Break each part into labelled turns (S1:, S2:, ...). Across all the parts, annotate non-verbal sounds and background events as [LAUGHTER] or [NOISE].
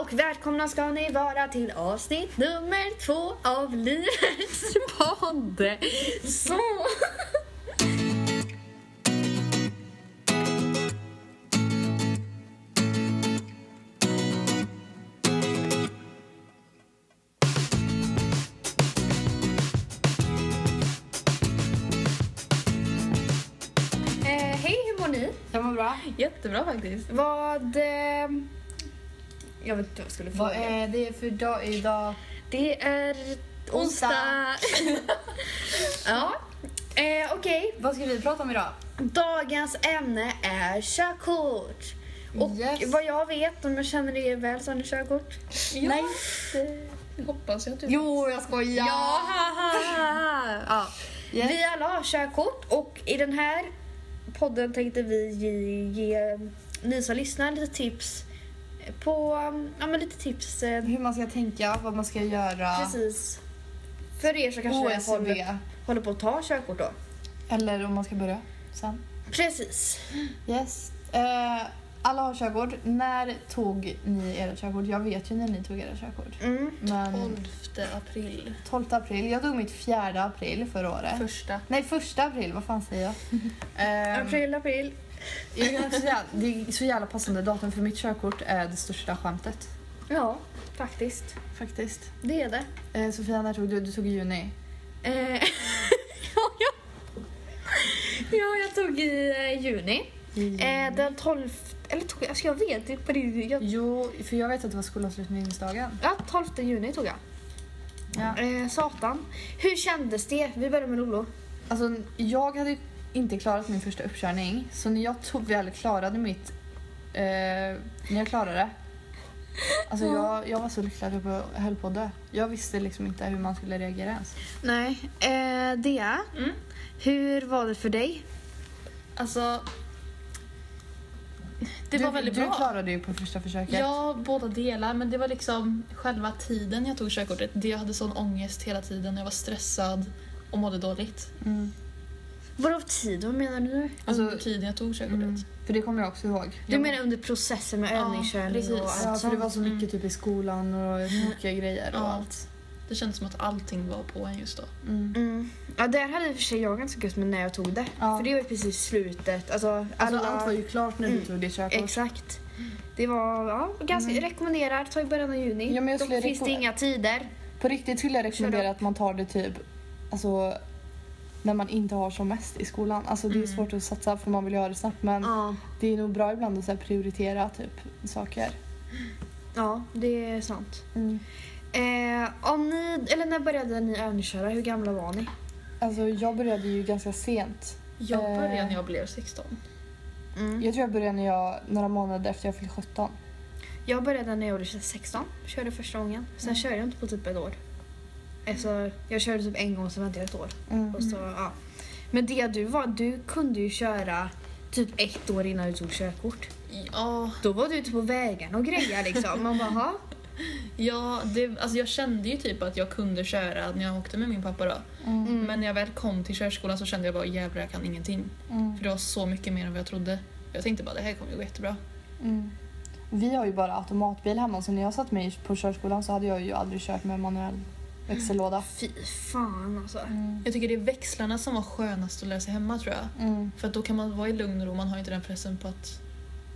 S1: och välkomna ska ni vara till avsnitt nummer två av Livets podd. Så! Eh, hej, hur mår ni?
S2: Det var bra.
S3: Jättebra faktiskt.
S1: Vad... Eh, jag vet inte vad jag skulle
S2: Vad
S1: fråga.
S2: är det för dag idag?
S1: Det är onsdag.
S2: Onsdag.
S1: ja. Eh, Okej,
S2: Vad ska vi prata om idag?
S1: dagens ämne är körkort. Och
S2: Yes.
S1: vad jag vet, om jag känner er väl, så har ni körkort?
S3: Ja.
S1: Nej.
S3: Hoppas jag typ.
S2: Jo, jag skojar!
S1: Ja, ha, ha, ha. ja.
S2: Yes.
S1: Vi alla har körkort och i den här podden tänkte vi ge, ge ni som lyssnar lite tips på, ja men lite tips. eh,
S2: Hur man ska tänka, vad man ska göra.
S1: Precis. För er som kanske
S2: OSB.
S1: håller, håller på att ta körkort då.
S2: Eller om man ska börja sen.
S1: Precis.
S2: Yes. Eh, alla har körkort. När tog ni era körkort? Jag vet ju när ni tog era körkort.
S1: Mm.
S2: Men
S3: 12 april.
S2: 12 april. Jag tog mitt 4 april förra året.
S3: Första.
S2: Nej, första april. Vad fan säger [LAUGHS] jag? Ehm,
S1: April, april.
S2: Jag kan också säga, det är så jävla passande datum för mitt körkort är det största skämtet.
S1: Ja, faktiskt.
S2: Faktiskt.
S1: Det är det.
S2: Eh, Sofia, när tog du? Du tog i juni.
S1: Eh, [LAUGHS] ja, jag, ja, jag tog i eh, juni. Eh, den 12... Eller tog jag? Alltså jag vet inte. på det- Jag,
S2: Jo, för jag vet att det var skolavslutningsdagen.
S1: ja, 12 juni tog jag.
S2: Ja.
S1: Eh, satan. Hur kändes det? Vi börjar med Lolo.
S2: Alltså, jag hade inte klarat min första uppkörning, så när jag tog, väl klarade mitt... Eh, när jag klarade det. Alltså jag, jag var så lycklig att jag på- höll på att dö. Jag visste liksom inte hur man skulle reagera ens.
S1: Nej. Eh, Dea, hur var det för dig?
S3: Alltså. Det var
S2: du,
S3: väldigt
S2: du
S3: bra.
S2: klarade ju på första försöket.
S3: Ja, båda delar. Men det var liksom själva tiden jag tog körkortet. Det jag hade sån ångest hela tiden. Jag var stressad och mådde dåligt.
S2: Mm.
S1: Vadå för tid? Vad menar du?
S2: Alltså-
S3: under tiden jag tog körkortet.
S2: Mm. För det kommer jag också ihåg.
S1: Du
S2: jag,
S1: menar under processen med
S3: Ja,
S1: övningskörning
S3: precis.
S1: och allt
S2: Ja, för det
S1: sånt? Mm.
S2: var så mycket
S3: Mm.
S2: typ i skolan och mycket grejer och
S3: Ja.
S2: allt.
S3: Det kändes som att allting var på en just då.
S2: Mm.
S1: Mm. Ja, där hade i och för sig jag ganska gött med när jag tog det.
S2: Ja.
S1: För det var ju precis slutet. Alltså,
S2: Alltså,
S1: alla-
S2: Allt var ju klart när du
S1: Mm.
S2: tog ditt körkort.
S1: Exakt. Det var ja, ganska rekommenderat. Ta i början av juni.
S2: Mm. Ja, men jag
S1: Då
S2: skulle Mm.
S1: finns det
S2: rekommendera-
S1: inga tider.
S2: På riktigt skulle jag
S1: Kör
S2: rekommendera att man tar det typ alltså, när man inte har som mest i skolan. Alltså, det är svårt att satsa för man vill göra det snabbt men
S1: Mm. Ja.
S2: det är nog bra ibland att så här, prioritera typ, saker.
S1: ja, det är sant. Eh, om ni, eller när började ni övningsköra? Hur gamla var ni?
S2: Alltså, jag började ju ganska sent.
S3: Jag
S2: Eh.
S3: började när jag blev 16.
S1: Mm.
S2: Jag tror jag började när jag, några månader efter jag fyllde 17.
S1: Jag började när jag var 16. Körde första gången. Sen
S2: Mm.
S1: körde jag inte på typ ett år. Alltså, jag körde typ en gång, sen väntade jag ett år.
S2: Mm.
S1: Och så, ja. Men det du var, du kunde ju köra typ ett år innan du tog körkort.
S3: Ja,
S1: Då var du ute på vägen och grejer liksom. Man bara, "Ha?"
S3: ja det, alltså jag kände ju typ att jag kunde köra när jag åkte med min pappa då.
S2: Mm.
S1: Mm.
S3: Men när jag väl kom till körskolan så kände jag bara jävlar jag kan ingenting.
S2: Mm.
S3: För det var så mycket mer än vad jag trodde. Jag tänkte bara det här kommer ju gå jättebra.
S2: Mm. Vi har ju bara automatbil hemma så när jag satt mig på körskolan så hade jag ju aldrig kört med manuell växellåda.
S1: Fy fan alltså.
S2: Mm.
S3: Jag tycker det är växlarna som var skönast att lära sig hemma tror jag.
S2: Mm.
S3: För att då kan man vara i lugn och ro, man har inte den pressen på att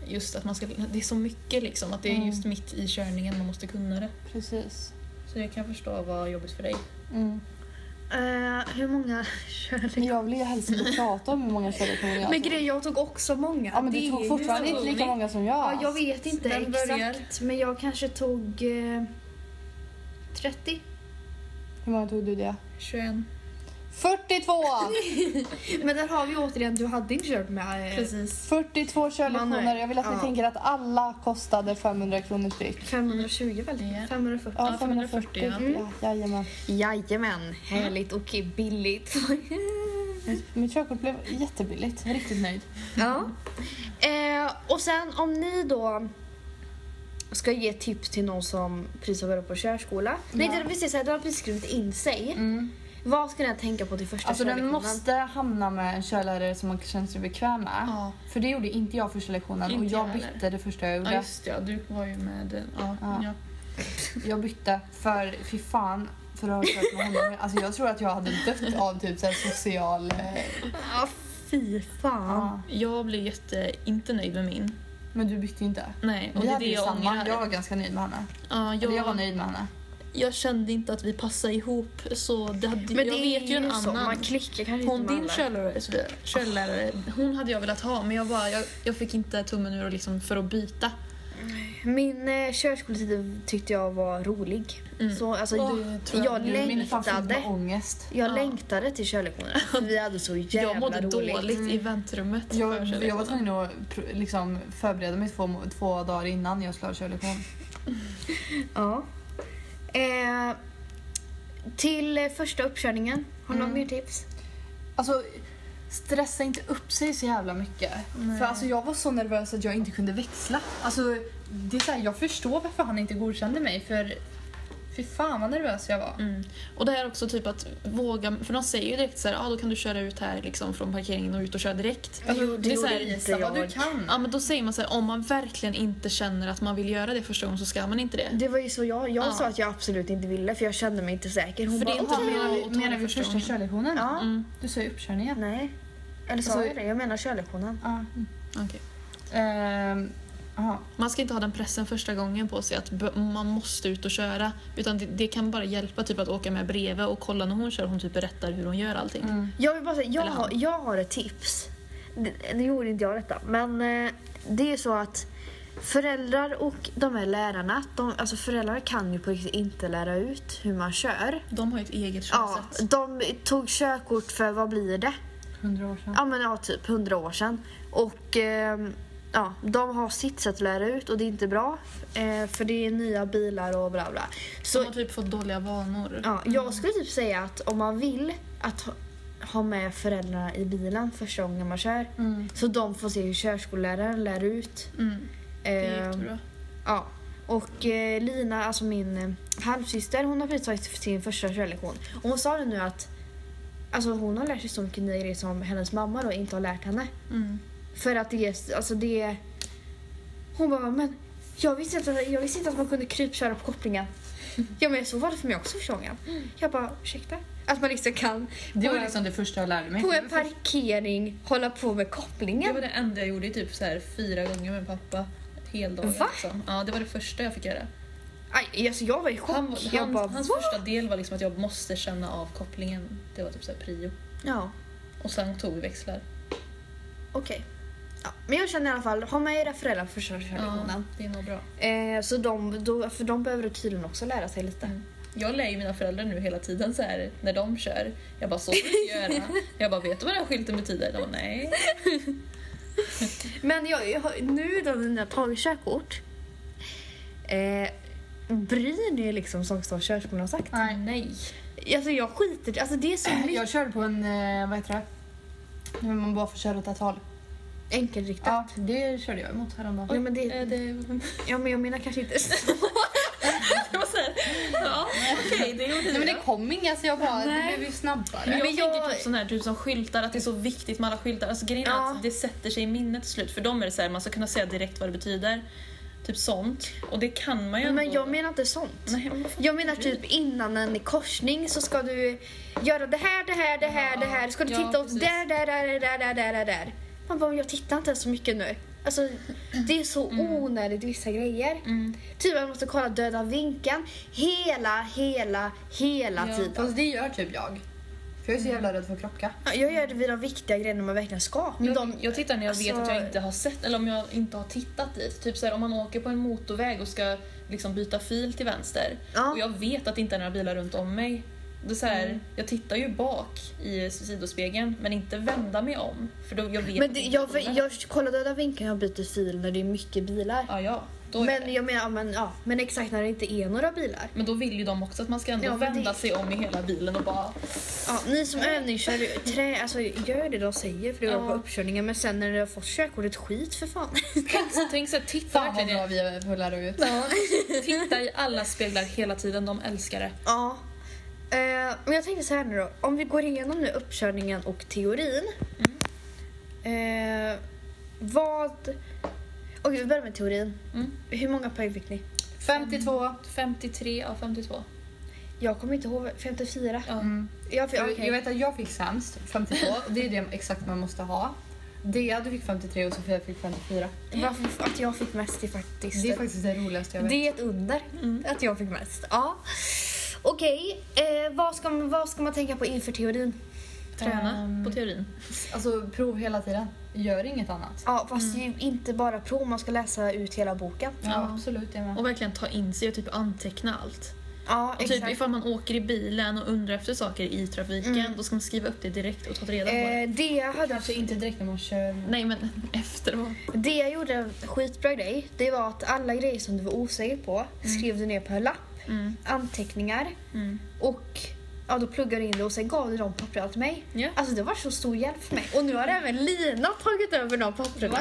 S3: just att man ska, det är så mycket liksom att det är
S2: Mm.
S3: just mitt i körningen man måste kunna det.
S2: Precis.
S3: Så jag kan förstå vad jobbigt för dig.
S2: Mm.
S1: Eh, hur många [LAUGHS] körde jag?
S2: Jag vill ju helst inte prata om hur många körlektioner jag
S1: Men grejen, jag tog också många.
S2: Ja men
S1: Det
S2: du
S1: är ju
S2: tog fortfarande
S1: så
S2: inte
S1: roligt.
S2: lika många som jag.
S1: Ja, jag vet inte
S3: Den
S1: exakt.
S3: börjar.
S1: Men jag kanske tog eh, 30.
S2: Hur många tog du det?
S3: 21.
S2: 42!
S1: Men där har vi återigen, du hade inte kört med eh,
S3: Precis.
S2: 42 körlektioner. Jag vill att ni
S1: Ja.
S2: tänker att alla kostade 500 kronor styck.
S1: 520 väl?
S3: Ja.
S1: 540.
S3: Ja, 540, ja.
S2: Mm. Ja, jajamän.
S1: Jajamän, härligt och billigt.
S2: Mitt- Mitt körkort blev jättebilligt. Jag är Riktigt nöjd.
S1: [LAUGHS] ja. Eh, och sen om ni då ska ge tips till någon som precis har börjat på körskola. Nej, det, precis, så här, de har precis skrivit in sig. Vad ska den här tänka på till första
S2: Alltså den
S1: körlektionen?
S2: måste hamna med en körlärare som man känner sig bekväm med.
S3: Ja.
S2: För det gjorde inte jag första lektionen
S3: Inte
S2: och
S3: jag
S2: jag
S3: heller.
S2: bytte det första jag gjorde.
S3: Ja just det, ja, du var ju med den. Ja,
S2: Ja.
S3: ja.
S2: Jag bytte för fy fan för att ha kört med honom. Alltså jag tror att jag hade dött av typ så här social... eh,
S1: Ah, fy fan.
S2: ja.
S3: Jag blev jätte, inte nöjd med min.
S2: Men du bytte ju inte.
S3: Nej, och
S2: Vi
S3: det är
S2: hade
S3: det
S2: ju
S3: jag
S2: samma.
S3: ångrar.
S2: Jag var ganska nöjd med henne.
S3: Ja,
S2: Eller jag var
S3: jag,
S2: nöjd med henne.
S3: jag kände inte att vi passade ihop så det hade,
S1: Men
S3: jag
S1: det
S3: vet ju en
S1: så,
S3: annan.
S1: man klickar kanske
S3: Hon,
S1: inte med
S3: din
S1: alla.
S3: körlärare, Sofia, körlärare, hon hade jag velat ha men jag, bara, jag, jag fick inte tummen ur liksom för att byta.
S1: Min eh, körskoletid tyckte jag var rolig.
S3: Mm.
S1: Så, alltså,
S3: Åh,
S1: jag,
S3: tror jag
S1: jag
S3: du-
S2: Min är fan fylld med
S1: längtade.
S2: ångest.
S1: Jag
S3: Ja.
S1: längtade till körlektionerna. för [LAUGHS] Vi hade så jävla
S3: Jag mådde
S1: roligt.
S3: dåligt i väntrummet. för
S2: Jag, jag var
S3: körlektionen.
S2: tvungen att pr- liksom förbereda mig två, må- två dagar innan jag skulle ha körlektion.
S1: Ja. Eh, till eh, första uppkörningen. Har du
S2: Mm.
S1: något mer tips?
S2: Alltså, stressa inte upp sig så jävla mycket.
S3: Nej.
S2: För alltså, jag var så nervös att jag inte kunde växla. Alltså, det är så här, jag förstår varför han inte godkände mig. För fy fan vad nervös jag var.
S3: Mm. Och det här också typ att våga, för de säger ju direkt så här, ah, då kan du köra ut här liksom från parkeringen och ut och köra direkt.
S1: Jo,
S2: Alltså,
S1: det
S2: är så här,
S1: gjorde
S2: visa
S1: inte
S2: vad du
S1: jag.
S2: kan.
S3: Ja men då säger man så här, om man verkligen inte känner att man vill göra det första gången så ska man inte det.
S1: Det var ju så jag, jag
S3: Ja.
S1: sa att jag absolut inte ville för jag kände mig inte säker. Hon
S3: För det
S1: bara,
S3: är inte
S1: "Åh,
S3: bra
S1: menar du-"
S3: att ta det
S2: Menar vi
S3: första
S2: första
S3: gången.
S2: körlektionen?
S1: Ja.
S3: Mm,
S2: Du sa ju uppkörningen.
S1: Nej. Eller sa
S2: Alltså-
S1: jag det? Jag menar körlektionen.
S2: Ja.
S3: okej.
S2: Ehm, aha.
S3: Man ska inte ha den pressen första gången på sig att b- man måste ut och köra. Utan det, det kan bara hjälpa typ att åka med bredvid och kolla när hon kör. Hon typ berättar hur hon gör allting.
S2: Mm.
S1: Jag vill bara säga, jag,
S3: Eller
S1: har-
S3: han.
S1: jag har ett tips. Det, det gjorde inte jag detta, men eh, det är så att föräldrar och de här lärarna, de, alltså föräldrar kan ju på riktigt inte lära ut hur man kör.
S3: De har ju ett eget
S1: Ja,
S3: körsätt.
S1: de tog körkort för, vad blir det?
S2: Hundra år sedan.
S1: Ja men ja, typ 100 år sedan. Och ehm, ja, de har sitt sätt att lära ut och det är inte bra. Eh, för det är nya bilar och bla bla. Så
S3: De har typ fått dåliga vanor.
S1: Ja, jag skulle typ säga att om man vill att ha, ha med föräldrarna i bilen första gången man kör
S2: Mm.
S1: så de får se hur körskolläraren lär ut.
S3: Mm, det är
S1: Eh,
S3: jättebra.
S1: ja. Och eh, Lina, alltså min eh, halvsyster, hon har precis tagit sin första körlektion. Och hon sa det nu att alltså, hon har lärt sig så mycket nya grejer som hennes mamma då inte har lärt henne.
S3: Mm.
S1: För att det är, alltså det är... Hon bara, men jag visste inte, att- jag visste inte att man kunde krypköra på [LAUGHS] kopplingen. Ja men så var det för mig också första gången. Jag bara, ursäkta? Att man liksom kan
S2: Det
S1: på,
S2: var
S1: en-
S2: liksom det första jag lärde mig.
S1: på en parkering hålla på med kopplingen.
S3: det enda jag gjorde typ så här fyra gånger med pappa. Heldagar
S1: Va?
S3: liksom. Ja, det var det första jag fick göra.
S1: Aj, alltså jag var i chock.
S3: Han,
S1: jag
S3: han,
S1: bara,
S3: hans
S1: "Va?"
S3: första del var liksom att jag måste känna av kopplingen. Det var typ så här prio.
S1: Ja,
S3: Och sen tog vi växlar.
S1: okej. Ja, men jag känner i alla fall, ha med era föräldrar på första körlektionen.
S3: det är nog bra.
S1: Eh, så de, då, för de behöver tydligen också lära sig lite.
S3: Mm. Jag lär ju mina föräldrar nu hela tiden så här när de kör. Jag bara, så ska du inte
S1: [LAUGHS]
S3: göra. Jag bara, vet du vad den här skylten betyder? De bara, nej.
S1: Men jag, jag, nu då när ni har tagit körkort. Eh, bryr ni er liksom som står körskolan har sagt?
S2: Nej.
S3: nej.
S1: Alltså jag skiter alltså det är så mycket
S2: Jag körde på en, eh, vad heter det? När man bara får köra åt ett håll.
S1: enkelriktat. Ja.
S2: Ja, det körde jag emot häromdagen.
S1: men det,
S3: Eh, Det,
S1: ja men jag menar kanske inte
S3: [LAUGHS] det var så här, ja okej, det gjorde
S2: Nej,
S3: du.
S2: men det kom inga så jag bara,
S1: Nej.
S2: det blev ju snabbare.
S3: Men jag,
S1: Men jag-
S3: tänker typ sån här typ som skyltar, att det är så viktigt med alla skyltar. Alltså grejen är
S1: Ja.
S3: att det sätter sig i minnet till slut. För dem är det så här, man ska kunna säga direkt vad det betyder. Typ sånt. Och det kan man ju
S1: [LAUGHS] Men
S3: ändå-
S1: jag menar inte sånt.
S3: Nej, men vad fan
S1: Jag menar
S3: bryr
S1: typ innan en korsning så ska du göra det här, det här, det här, det här. Ska du
S3: Ja,
S1: titta åt
S3: precis.
S1: där, där, där, där, där, där, där, där. Man bara, jag tittar inte så mycket nu. Alltså det är så onödigt vissa grejer.
S3: Mm.
S1: Typ man måste kolla döda vinkeln hela, hela, hela
S3: Ja.
S1: tiden.
S2: Fast det gör typ jag. För jag är så jävla rädd för att krocka.
S1: Ja, Jag gör det vid de viktiga grejerna man verkligen ska. Men
S3: Jag,
S1: de,
S3: jag tittar när jag vet
S1: alltså-
S3: att jag inte har sett eller om jag inte har tittat dit. Typ så här, om man åker på en motorväg och ska liksom byta fil till vänster
S1: Ja. Mm.
S3: och jag vet att det inte är några bilar runt om mig. Det är så här, Jag tittar ju bak i sidospegeln men inte vända mig om. För då, jag vet
S1: men
S3: att
S1: det,
S3: inte
S1: jag,
S3: kommer.
S1: jag kollar döda vinkeln och byter fil när det är mycket bilar.
S3: Ja, ja. Då är det.
S1: Men jag menar, ja, men, ja, men exakt när det inte är några bilar.
S3: Men då vill ju de också att man ska ändå
S1: Ja, men
S3: vända
S1: det-
S3: sig om i hela bilen och bara...
S1: Ja, ni som övningskör, ju- trä, alltså, gör det de säger för det var
S3: Ja.
S1: på uppkörningen men sen när du har fått körkortet, skit för fan. [LAUGHS]
S3: Tänk såhär, titta,
S2: Fan vad
S3: verkligen
S2: bra
S3: i-
S2: vi är på att lära ut.
S1: Ja.
S3: titta i alla speglar hela tiden, de älskar det.
S1: ja. Eh, men jag tänkte så här nu då. Om vi går igenom nu uppkörningen och teorin.
S2: Mm.
S1: Eh, vad... Okej, vi börjar med teorin.
S3: Mm.
S1: Hur många poäng fick ni?
S2: 52.
S3: 53 av 52.
S1: Jag kommer inte ihåg. 54?
S3: Ja.
S2: Mm.
S1: Jag fick,
S2: Jag,
S1: okej.
S2: jag vet att jag fick sämst, 52. och Det är det exakt man måste ha. Dea, du fick 53 och Sofia fick 54.
S1: Varför Eh, att jag fick mest är faktiskt...
S2: Det är faktiskt det roligaste jag vet.
S1: Det är ett under
S3: Mm.
S1: att jag fick mest. Ja. Okej, eh, vad, ska, man- vad ska man tänka på inför teorin?
S3: Träna
S2: Ehm,
S3: på teorin.
S2: Alltså prov hela tiden. Gör inget annat.
S1: Ja, fast
S3: Mm.
S1: ju inte bara prov, man ska läsa ut hela boken.
S2: Ja,
S3: Ja.
S2: absolut. Jag med.
S3: Och verkligen ta in sig och typ anteckna allt.
S1: Ja,
S3: Och typ
S1: exakt.
S3: ifall man åker i bilen och undrar efter saker i trafiken,
S1: Mm.
S3: då ska man skriva upp det direkt och ta reda på det.
S1: Eh, det, jag hade,
S2: Kanske inte direkt när man kör.
S3: Nej men efteråt.
S1: det jag gjorde en skitbra grej, det var att alla grejer som du var osäker på skrev du ner på en lapp,
S3: Mm.
S1: anteckningar
S3: Mm.
S1: och ja, då pluggade du in det och sen gav du de papperna till mig.
S3: Ja. Mm.
S1: Alltså det var så stor hjälp för mig. Och nu har även Lina tagit över de papperna.
S3: Va?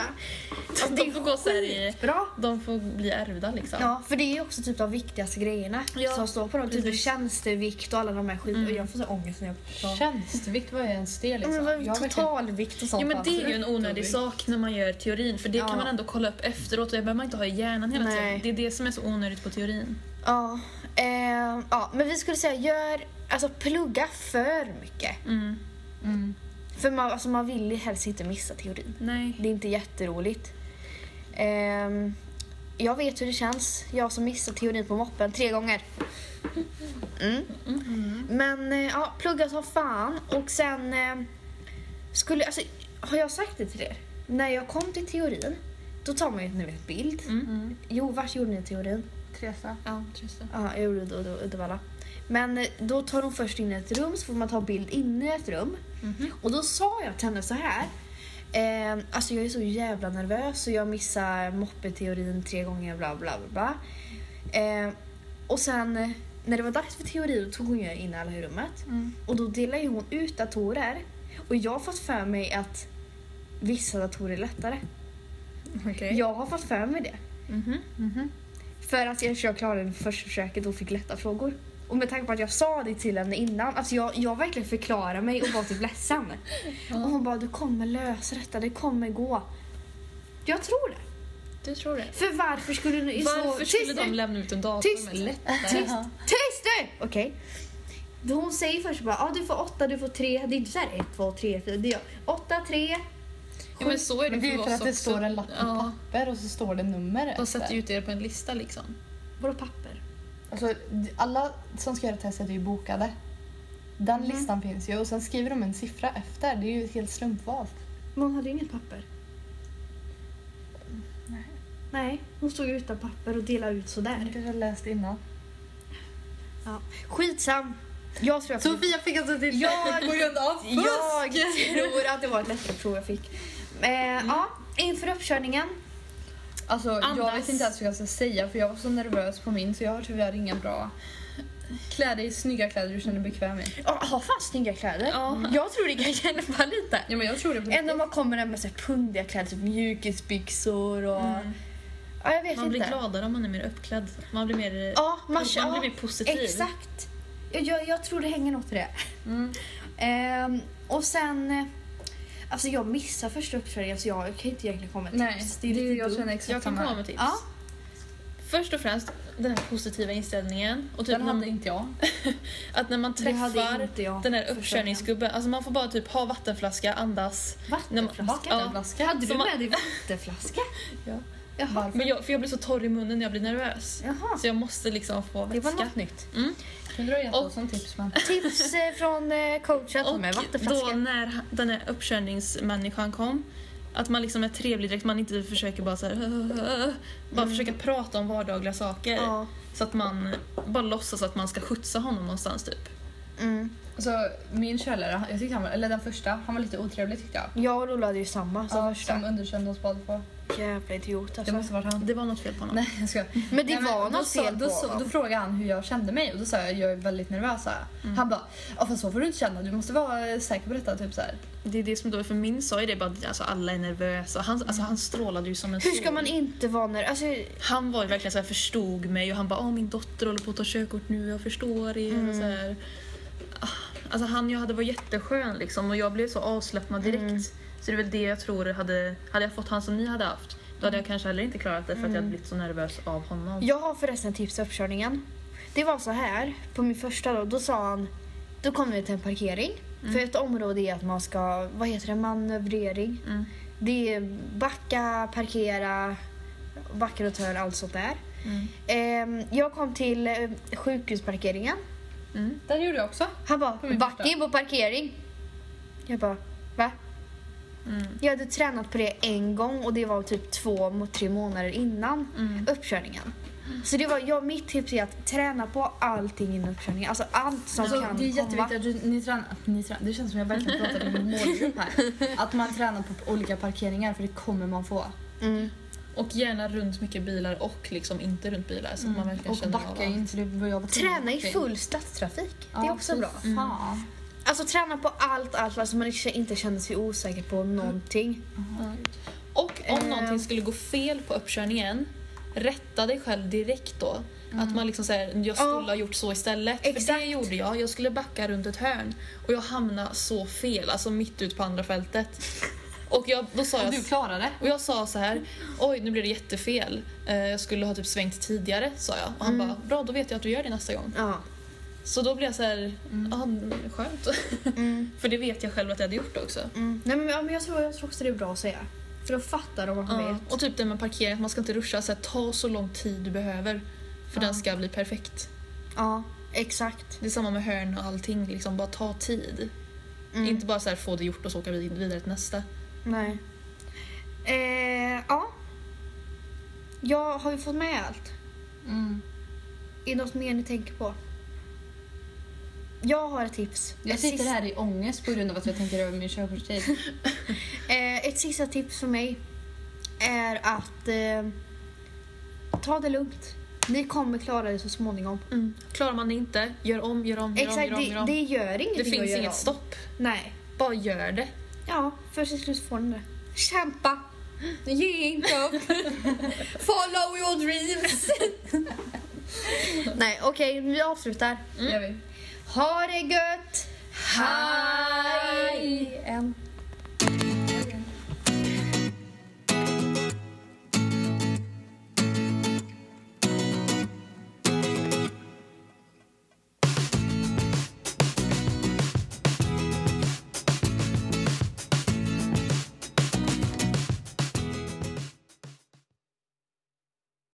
S1: Alltså,
S3: [LAUGHS] De får gå så här i...
S1: bra.
S3: De får bli ärvda liksom.
S1: Ja, för det är ju också typ de viktigaste grejerna
S3: Ja,
S1: som står på dem. Typ
S3: precis. Mm.
S1: tjänstevikt och alla de här skit. Och jag får så ångest när jag pratar.
S2: Tjänstvikt, vad är ens det
S1: Ja,
S2: liksom?
S1: men vad-
S2: Jag har verkligen-
S1: Totalvikt och sånt.
S3: Jo men det
S1: alltså.
S3: är ju en onödig sak när man gör teorin för det
S1: Ja.
S3: kan man ändå kolla upp efteråt och det behöver man inte ha i hjärnan hela
S1: Nej.
S3: tiden. Det är det som är så onödigt på teorin.
S1: Ja, eh, ja, men vi skulle säga gör, alltså plugga för mycket.
S3: Mm.
S2: Mm.
S1: För man, alltså, man vill ju helst inte missa teorin.
S3: Nej.
S1: Det är inte jätteroligt. Ehm, jag vet hur det känns, jag som missar teorin på moppen tre gånger. Mm. Men eh, ja, plugga som fan och sen eh, skulle, alltså har jag sagt det till er? När jag kom till teorin, då tar man ju ni vet, bild.
S2: Mm.
S1: Jo, vart gjorde ni teorin?
S2: Teresa.
S3: Ja, just det.
S1: Ja, jag gjorde det i Uddevalla. Men eh, då tar de först in i ett rum så får man ta bild inne i ett rum. Och då sa jag till henne så här. Eh, alltså jag är så jävla nervös och jag missar moppeteorin tre gånger bla bla bla. bla. Eh, och sen eh, när det var dags för teori då tog hon ju in alla i rummet.
S2: Mm.
S1: Och då delade ju hon ut datorer. Och jag har fått för mig att vissa datorer är lättare.
S3: Okej.
S1: Jag har fått för mig det.
S3: Mhm.
S1: För att jag, jag klarade det på första försöket och fick lätta frågor. Och med tanke på att jag sa det till henne innan, alltså jag, jag verkligen förklarade mig och var typ ledsen.
S3: [LAUGHS]
S1: Och hon bara, du kommer lösa detta, det kommer gå. Jag tror det.
S3: Du tror det?
S1: För varför skulle du... i så-
S3: Varför
S1: Tyst
S3: skulle
S1: nu!
S3: de lämna ut en dator
S1: Tyst.
S3: med lättare?
S1: Tyst, tyst nu! Okej. Då Hon säger först bara, ah, du får åtta, du får tre. Det är inte såhär ett, två, tre, fyra. Det är åtta, tre.
S3: Ja, men så är det,
S2: Men det är ju
S3: oss
S2: för att det
S3: också.
S2: står en lapp på
S3: ja.
S2: papper och så står det nummer
S3: De
S2: efter.
S3: sätter ju ut er på en lista liksom.
S1: Vadå papper?
S2: Alltså, d- alla som ska göra testet är ju bokade. Den listan finns ju och sen skriver de en siffra efter. Det är ju helt slumpvalt.
S1: Man hade ju inget papper. Nej, hon stod ju utan papper och delade ut sådär.
S2: Jag kanske läste innan.
S1: Ja. Skitsam. Jag tror jag fick...
S2: fick alltså till
S1: Jag-
S2: på grund av
S1: Jag tror att det var ett lättare prov jag fick. Eh,
S3: Mm.
S1: Ja, inför uppkörningen.
S2: Alltså, jag
S3: Andas.
S2: vet inte ens hur jag ska säga för jag var så nervös på min så jag har tyvärr ingen bra... Klä dig i snygga kläder du känner dig bekväm i.
S1: Ja, ha fan snygga kläder. Mm.
S3: Ja.
S1: Jag tror det kan [LAUGHS] hjälpa lite.
S2: Ja, men jag tror det på
S1: Än om man kommer där med så här pundiga kläder, typ mjukisbyxor och... Ja, jag vet
S3: Mm. Man
S1: inte.
S3: blir gladare om man är mer uppklädd. Man blir mer,
S1: Ja, man,
S3: man
S1: ja,
S3: blir mer positiv.
S1: exakt. Jag, jag, jag tror det hänger något i det.
S2: Mm.
S1: Ehm, och sen... eh, Alltså jag missar första uppkörningen så jag kan inte egentligen komma med
S2: Nej,
S1: tips.
S2: det är
S1: lite
S2: jag
S1: dumt.
S2: känner exakt
S3: Jag kan
S2: samma.
S3: komma med tips.
S1: Ja.
S3: Först och främst den här positiva inställningen. Och typ
S2: Den
S3: när,
S2: hade inte jag.
S3: [LAUGHS] att när man
S1: Det hade
S3: träffar
S1: inte jag.
S3: den här
S1: första
S3: uppkörningsgubben, alltså man får bara typ ha vattenflaska, andas.
S1: Vattenflaska?
S3: Ja.
S2: Vattenflaska.
S1: Hade du
S3: Som man-
S1: med dig [LAUGHS] vattenflaska?
S3: Ja.
S1: Jaha.
S2: Varför?
S3: Men jag, för jag blir så torr i munnen när jag blir nervös.
S1: Jaha.
S3: Så jag måste liksom få
S1: Det var
S3: vätska.
S1: något nytt.
S2: Kunde du ha gett oss
S3: Och-
S2: som tips men...
S1: Tips eh, från eh, coachen
S3: Och
S1: att med
S3: då
S1: vattenflaska.
S3: när han- den här uppkörningsmänniskan kom, att man liksom är trevlig direkt, man inte försöker bara så här, [LAUGHS] Bara försöka prata om vardagliga saker.
S1: Ja.
S3: Så att man bara låtsas att man ska skjutsa honom någonstans typ.
S1: Mm.
S2: Så Alltså, min körlärare, jag tyckte han var, eller den första, han var lite otrevlig tyckte jag.
S1: Jag och Lola hade ju samma som
S2: Ja,
S1: första.
S2: Som underkände oss båda på.
S1: Jävla idiot
S2: Det
S1: alltså.
S2: måste varit han.
S3: Det var något fel på honom.
S2: Nej jag skojar.
S1: Men det
S2: Nej, men
S1: var
S2: då
S1: något
S2: sa-
S1: fel
S2: då,
S1: på
S2: sa- Då
S1: honom.
S2: frågade han hur jag kände mig och då sa jag jag är väldigt nervös. sa jag.
S1: Mm.
S2: Han bara, ja fast så får du inte känna, du måste vara säker på detta. Typ så här.
S3: Det är det som då, för min sa ju det bara att alltså, alla är nervösa. Han, alltså, han strålade ju som en
S1: Hur
S3: sol.
S1: ska man inte vara när... Alltså,
S3: Han var ju
S1: Mm.
S3: verkligen så här, förstod mig och han bara "Ah, min dotter håller på att ta körkort nu, jag förstår er. Och så här. Alltså han jag hade var jätteskön liksom och jag blev så avslappnad direkt.
S1: Mm.
S3: Så det är väl det jag tror hade, hade jag fått han som ni hade haft, då hade jag
S1: Mm.
S3: kanske heller inte klarat det för att jag hade blivit så nervös av honom.
S1: Jag har förresten ett tips för uppkörningen. Det var så här, på min första då, då sa han, då kom vi till en parkering. För ett område är att man ska, vad heter det, manövrering.
S3: Mm.
S1: Det är backa, parkera, backa runt hörn, allt sånt där.
S3: Mm.
S1: Ehm, jag kom till eh, sjukhusparkeringen.
S3: Mm.
S2: Där gjorde jag också.
S1: Han bara,
S2: min
S1: backa
S2: första.
S1: in på parkering. Jag bara, va?
S3: Mm.
S1: Jag hade tränat på det en gång och det var typ två mot tre månader innan
S3: Mm.
S1: uppkörningen. Så det var, ja, mitt tips är att träna på allting innan uppkörningen. Alltså allt som
S2: Alltså,
S1: kan
S2: det är
S1: komma.
S2: jätteviktigt att du, ni tränar, att ni tränar. Det känns som jag verkligen pratar till min målgrupp här.
S1: [LAUGHS]
S2: Att man tränar på olika parkeringar för det kommer man få.
S1: Mm.
S3: Och gärna runt mycket bilar och liksom inte runt bilar så
S1: Mm,
S3: att man verkligen
S2: Och
S3: känner av
S2: backa in så det var jag var
S1: Träna i
S2: tvungen.
S1: full stadstrafik.
S2: Ja,
S1: det är också
S2: fy
S1: bra.
S2: Fan.
S1: Alltså träna på allt, allt, allt så man inte- inte känner sig osäker på någonting.
S3: Och om
S1: Eh.
S3: någonting skulle gå fel på uppkörningen, rätta dig själv direkt då. Att man liksom säger, jag skulle
S1: Mm. Ja.
S3: ha gjort så istället. För
S1: Exakt.
S3: det gjorde jag. Jag skulle backa runt ett hörn och jag hamnade så fel, alltså mitt ut på andra fältet. Och jag, då sa
S2: Och
S3: jag,
S2: du klarade det.
S3: och jag sa så här, oj nu blev det jättefel. Eh, Jag skulle ha typ svängt tidigare, sa jag. Och han
S1: Mm.
S3: bara, bra då vet jag att du gör det nästa gång.
S1: Ja.
S3: Så då blev jag så här, ah, skönt. [LAUGHS]
S1: Mm.
S3: För det vet jag själv att jag hade gjort också.
S1: Mm. Nej, men, ja, men jag, tror, jag tror också det är bra att säga. För då fattar de att man
S3: Ja,
S1: vet.
S3: och typ det med parkering, att man ska inte ruscha. Så här, ta så lång tid du behöver för
S2: Ja.
S3: den ska bli perfekt.
S1: Ja, exakt.
S3: Det är samma med hörn och allting, liksom, bara ta tid.
S1: Mm.
S3: Inte bara så här, få det gjort och så åka vid- vidare till nästa.
S1: Nej. Eh, ja. ja. Har vi fått med allt?
S2: Mm.
S1: Är det något mer ni tänker på? Jag har ett tips.
S2: Jag
S1: ett,
S2: sitter
S1: sista,
S2: här i ångest på grund av att jag tänker över min körkortstid.
S1: eh, ett sista tips för mig är att eh, ta det lugnt. Ni kommer klara det så småningom.
S3: Klarar man det inte, gör om, gör om, gör om,
S1: Mm. Exakt,
S3: gör om. Gör
S1: det,
S3: om.
S1: det gör ingenting
S3: det
S1: att
S3: finns
S1: göra
S3: inget
S1: om.
S3: stopp.
S1: Nej.
S3: Bara gör det.
S1: Ja, först till slut får ni det. Kämpa! Ge inte [LAUGHS] upp! Follow your dreams! Nej, okej, vi avslutar.
S2: Gör vi.
S1: Ha det gött!
S3: Ha